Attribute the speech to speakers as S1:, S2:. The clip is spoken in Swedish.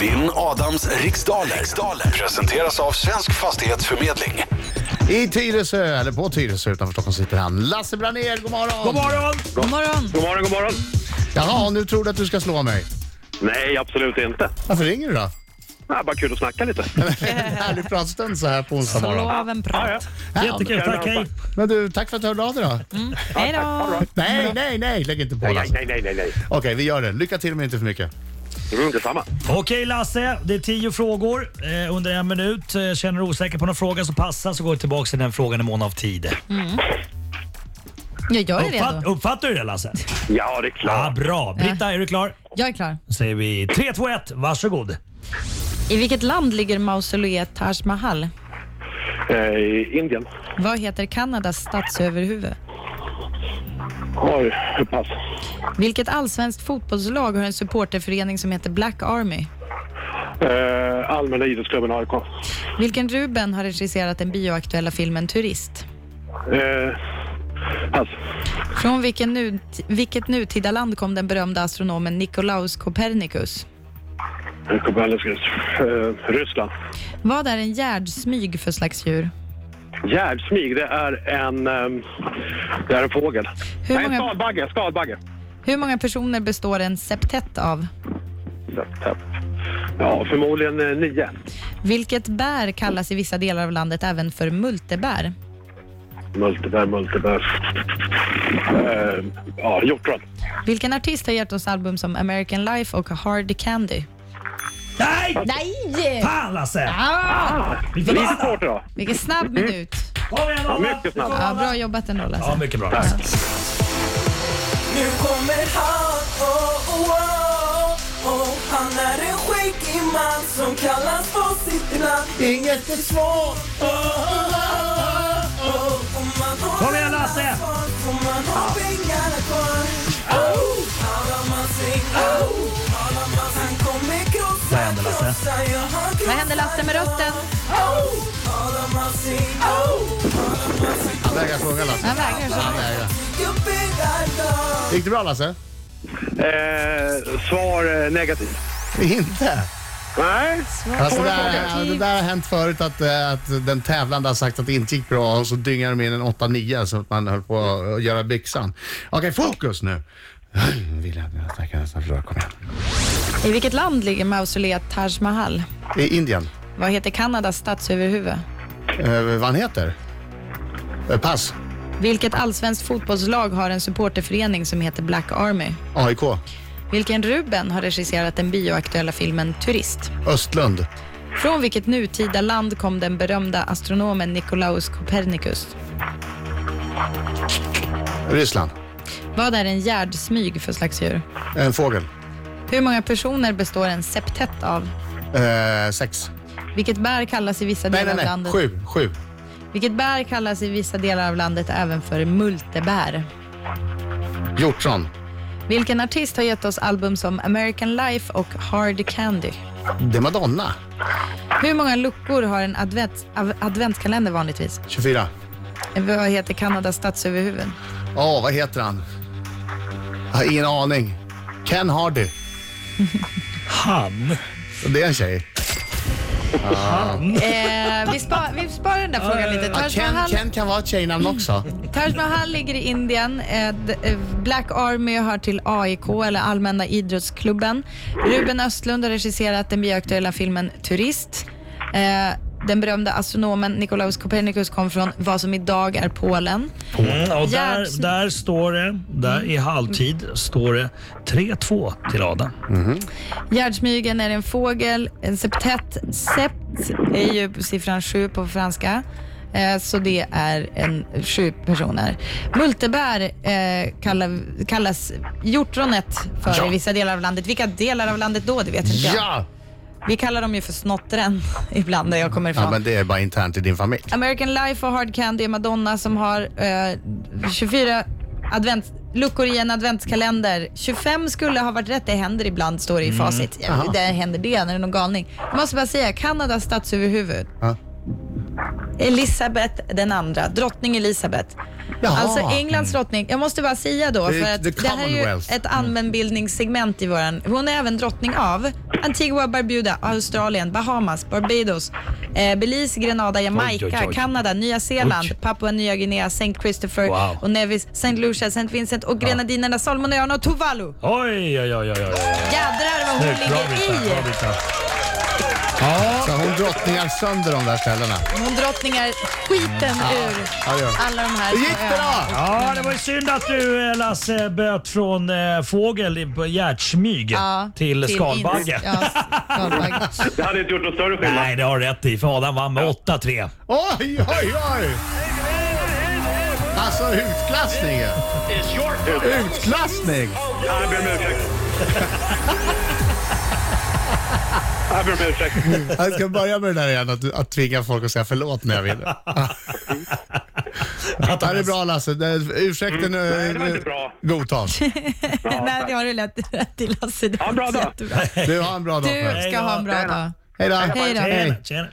S1: Vinn Adams riksdaler. riksdaler. Presenteras av Svensk Fastighetsförmedling.
S2: I Tyresö, eller på Tyresö utanför Stockholm sitter han. Lasse Branér, god morgon!
S3: God morgon!
S4: God morgon!
S5: God morgon, god morgon.
S2: Jaha, nu tror du att du ska slå mig.
S5: Nej, absolut inte.
S2: Varför ringer du då?
S5: Nej, bara kul att snacka lite.
S2: Härlig pratstund så här på onsdag
S4: Slå
S2: morgon.
S4: av en prat.
S2: Ja,
S3: Jättekul, tack hej.
S2: Men du, tack för att du hörde av dig då.
S4: Hej då!
S2: Nej, nej, nej, lägg inte på
S5: Nej,
S2: Lasse.
S5: nej, nej, nej, nej.
S2: Okej, vi gör det. Lycka till men inte för mycket.
S5: Det blir inte samma.
S3: Okej Lasse, det är tio frågor eh, under en minut. Eh, Känner du osäker på någon fråga som passar så går du tillbaka till den frågan i mån av tid.
S4: Ja, jag är
S3: Uppfatt,
S4: redo.
S3: uppfattar du det Lasse?
S5: Ja, det är
S3: Ja,
S5: klart.
S3: bra. Britta, är du klar?
S4: Jag är klar.
S3: Då säger vi 3, 2, 1, varsågod.
S4: I vilket land ligger mausoleet Taj Mahal?
S5: Eh, Indien.
S4: Vad heter Kanadas statsöverhuvud?
S5: Oj, pass.
S4: Vilket allsvenskt fotbollslag har en supporterförening som heter Black Army?
S5: Eh, Allmänna idrottsklubben AIK.
S4: Vilken Ruben har regisserat den bioaktuella filmen Turist?
S5: Eh, pass.
S4: Från vilken nu, vilket nutida land kom den berömda astronomen Nikolaus Copernicus?
S5: Kopernikus. Eh, Ryssland.
S4: Vad är en gärdsmyg för slags djur?
S5: Gärdsmyg, det är en... ehm, det är en fågel.
S4: Hur
S5: nej,
S4: många-
S5: skalbagge. Skalbagge.
S4: Hur många personer består en septett av?
S5: Ja, förmodligen eh, nio.
S4: Vilket bär kallas i vissa delar av landet även för multebär?
S5: Multibär, multibär. Eh, ja, hjortron.
S4: Vilken artist har gett oss album som American Life och Hard Candy?
S3: Nej!
S4: Nej!
S3: Fan Lasse!
S4: Ah,
S3: Vi får
S5: Lite
S3: vänta.
S5: svårt idag.
S4: vilken snabb minut.
S3: Kom igen Anna!
S5: mycket snabbt.
S3: Du får
S4: Ja,
S3: Anna.
S4: bra jobbat ändå
S3: Ja,
S4: Lasse.
S3: mycket bra Lasse.
S6: Nu kommer han, oh, oh, oh, oh. Han är en skäggig man som kallas på sitt namn
S2: Inget är svårt.
S6: Om man har
S3: Kom igen, Lasse!
S6: alla svar får man ha pengarna kvar Oh, Talar man sig, oh, talar man Han kommer krossa,
S3: Vad händer, Lasse?
S6: krossa, ja, han krossar
S4: Vad hände Lasse med rösten?
S6: Oh, talar man sig, oh, talar man sig oh.
S2: Han vägrar sjunga Lasse.
S4: Han vägrar
S2: Han
S4: sjunga.
S2: vägrar.
S6: Upp i världen
S2: Gick det bra Lasse?
S5: Eh, svar eh, negativt.
S2: Inte?
S5: Nej.
S2: Alltså, det, där, det där har hänt förut att, eh, att den tävlande har sagt att det inte gick bra och så dyngar de in en 8-9 så att man höll på att göra byxan. Okej, fokus nu. Nu vill jag att jag kan nästan förlora. Kom igen.
S4: I vilket land ligger mausoleet Taj Mahal?
S2: I Indien.
S4: Vad heter Kanadas statsöverhuvud?
S2: Eh, vad han heter? Eh, pass.
S4: Vilket allsvenskt fotbollslag har en supporterförening som heter Black Army?
S2: AIK.
S4: Vilken Ruben har regisserat den bioaktuella filmen Turist?
S2: Östlund.
S4: Från vilket nutida land kom den berömda astronomen Nikolaus Copernicus?
S2: Ryssland.
S4: Vad är en gärdsmyg för slags djur?
S2: En fågel.
S4: Hur många personer består en septett av?
S2: Eh, sex.
S4: Vilket bär kallas i vissa
S2: Nej,
S4: delar
S2: nej,
S4: av
S2: nej.
S4: landet?
S2: Sju. Sju.
S4: Vilket bär kallas i vissa delar av landet även för multebär?
S2: Hjortron.
S4: Vilken artist har gett oss album som American Life och Hard Candy?
S2: Det är Madonna.
S4: Hur många luckor har en advents, av, adventskalender vanligtvis? Eh,
S2: 24.
S4: Vad heter Kanadas statsöverhuvud?
S2: Ja, vad heter han? Jag har ingen aning. Ken Hardy.
S3: Han.
S2: Det är en tjej.
S4: Eh, vi, spa, vi sparar den där frågan lite.
S2: Ja,
S4: Taj
S2: Eh, Ken,
S4: Mahal,
S2: Ken kan vara ett tjejnamn också.
S4: Taj Mahal ligger i Indien. Eh, d- eh, Black Army hör till AIK, eller Allmänna idrottsklubben. Ruben Östlund har regisserat den bioaktuella filmen Turist. Eh, den berömda astronomen Nikolaus Copernicus kom från vad som idag är Polen.
S3: Mm, och
S4: Jävs-
S3: där, där står det, där i halvtid står det 3-2 till Adam.
S4: Gärdsmygen är en fågel. En septett, sept är ju siffran sju på franska. Eh, Så det är en sju personer. Multebär eh, kallar, kallas hjortronet för
S2: Ja.
S4: i vissa delar av landet. Vilka delar av landet då? Det vet inte jag.
S2: Ja!
S4: Vi kallar dem ju för snottren ibland där jag kommer ifrån.
S2: Ja, men det är bara internt i din familj.
S4: American Life och Hard Candy är Madonna som har eh, 24 advents, luckor i en adventskalender. 25 skulle ha varit rätt, det händer ibland står det i facit. Ja,
S2: Mm. Aha.
S4: Där händer det, när det är någon galning. Jag måste bara säga, Kanadas statsöverhuvud.
S2: Ja.
S4: Elisabeth den andra, drottning Elisabeth.
S2: Jaha.
S4: Alltså Englands drottning. Jag måste bara säga då,
S2: The-
S4: för att
S2: the
S4: det här är ju
S2: Commonwealth.
S4: ett allmänbildningssegment i våran. Hon är även drottning av Antigua, Barbuda, Australien, Bahamas, Barbados, eh, Belize, Grenada, Jamaica,
S3: Oj, oj, oj.
S4: Kanada, Nya Zeeland,
S3: Oj.
S4: Papua Nya Guinea, St. Christopher
S3: Wow.
S4: och Nevis, St. Lucia, St. Vincent och Grenadinerna, Salmonöarna och Tuvalu.
S3: Oj, oj, oj, oj, oj.
S4: Jädrar vad hon
S3: Snyggt, bra
S4: ligger
S3: bitar,
S4: i!
S3: bra bitar.
S2: Så hon drottningar sönder de där ställena.
S4: Hon drottningar skiten ur
S2: Ja, det gör hon.
S4: alla de här
S2: Det gick
S4: små
S2: bra!
S4: öarna.
S3: Ja, det var ju synd att du eh, Lasse böt från eh, fågel i- på hjärtsmyg
S4: Ja,
S3: till skalbagge.
S4: indisk- Ja, skalbagge.
S5: Det hade inte gjort någon större skillnad.
S3: Nej, det har du rätt i. För Adam vann med 8-3.
S2: Oj, oj, oj! Alltså utklassning ju. Utklassning!
S5: Ja, Jag ber om ursäkt. Jag ber om ursäkt.
S2: Jag ska börja med det där igen, att, att tvinga folk att säga förlåt när jag vinner. Det här är bra Lasse. Det- Ursäkten
S5: Nej, det var inte
S2: mm,
S5: bra.
S2: godtas.
S4: Nej, det har du lätt rätt i Lasse. Det
S5: Ja,
S4: var
S5: bra
S4: inte
S5: då.
S4: jättebra.
S2: Du har en bra dag själv.
S4: Du ska ha en bra dag.
S2: Hej då!
S4: Hej då.
S3: Tjena, tjena.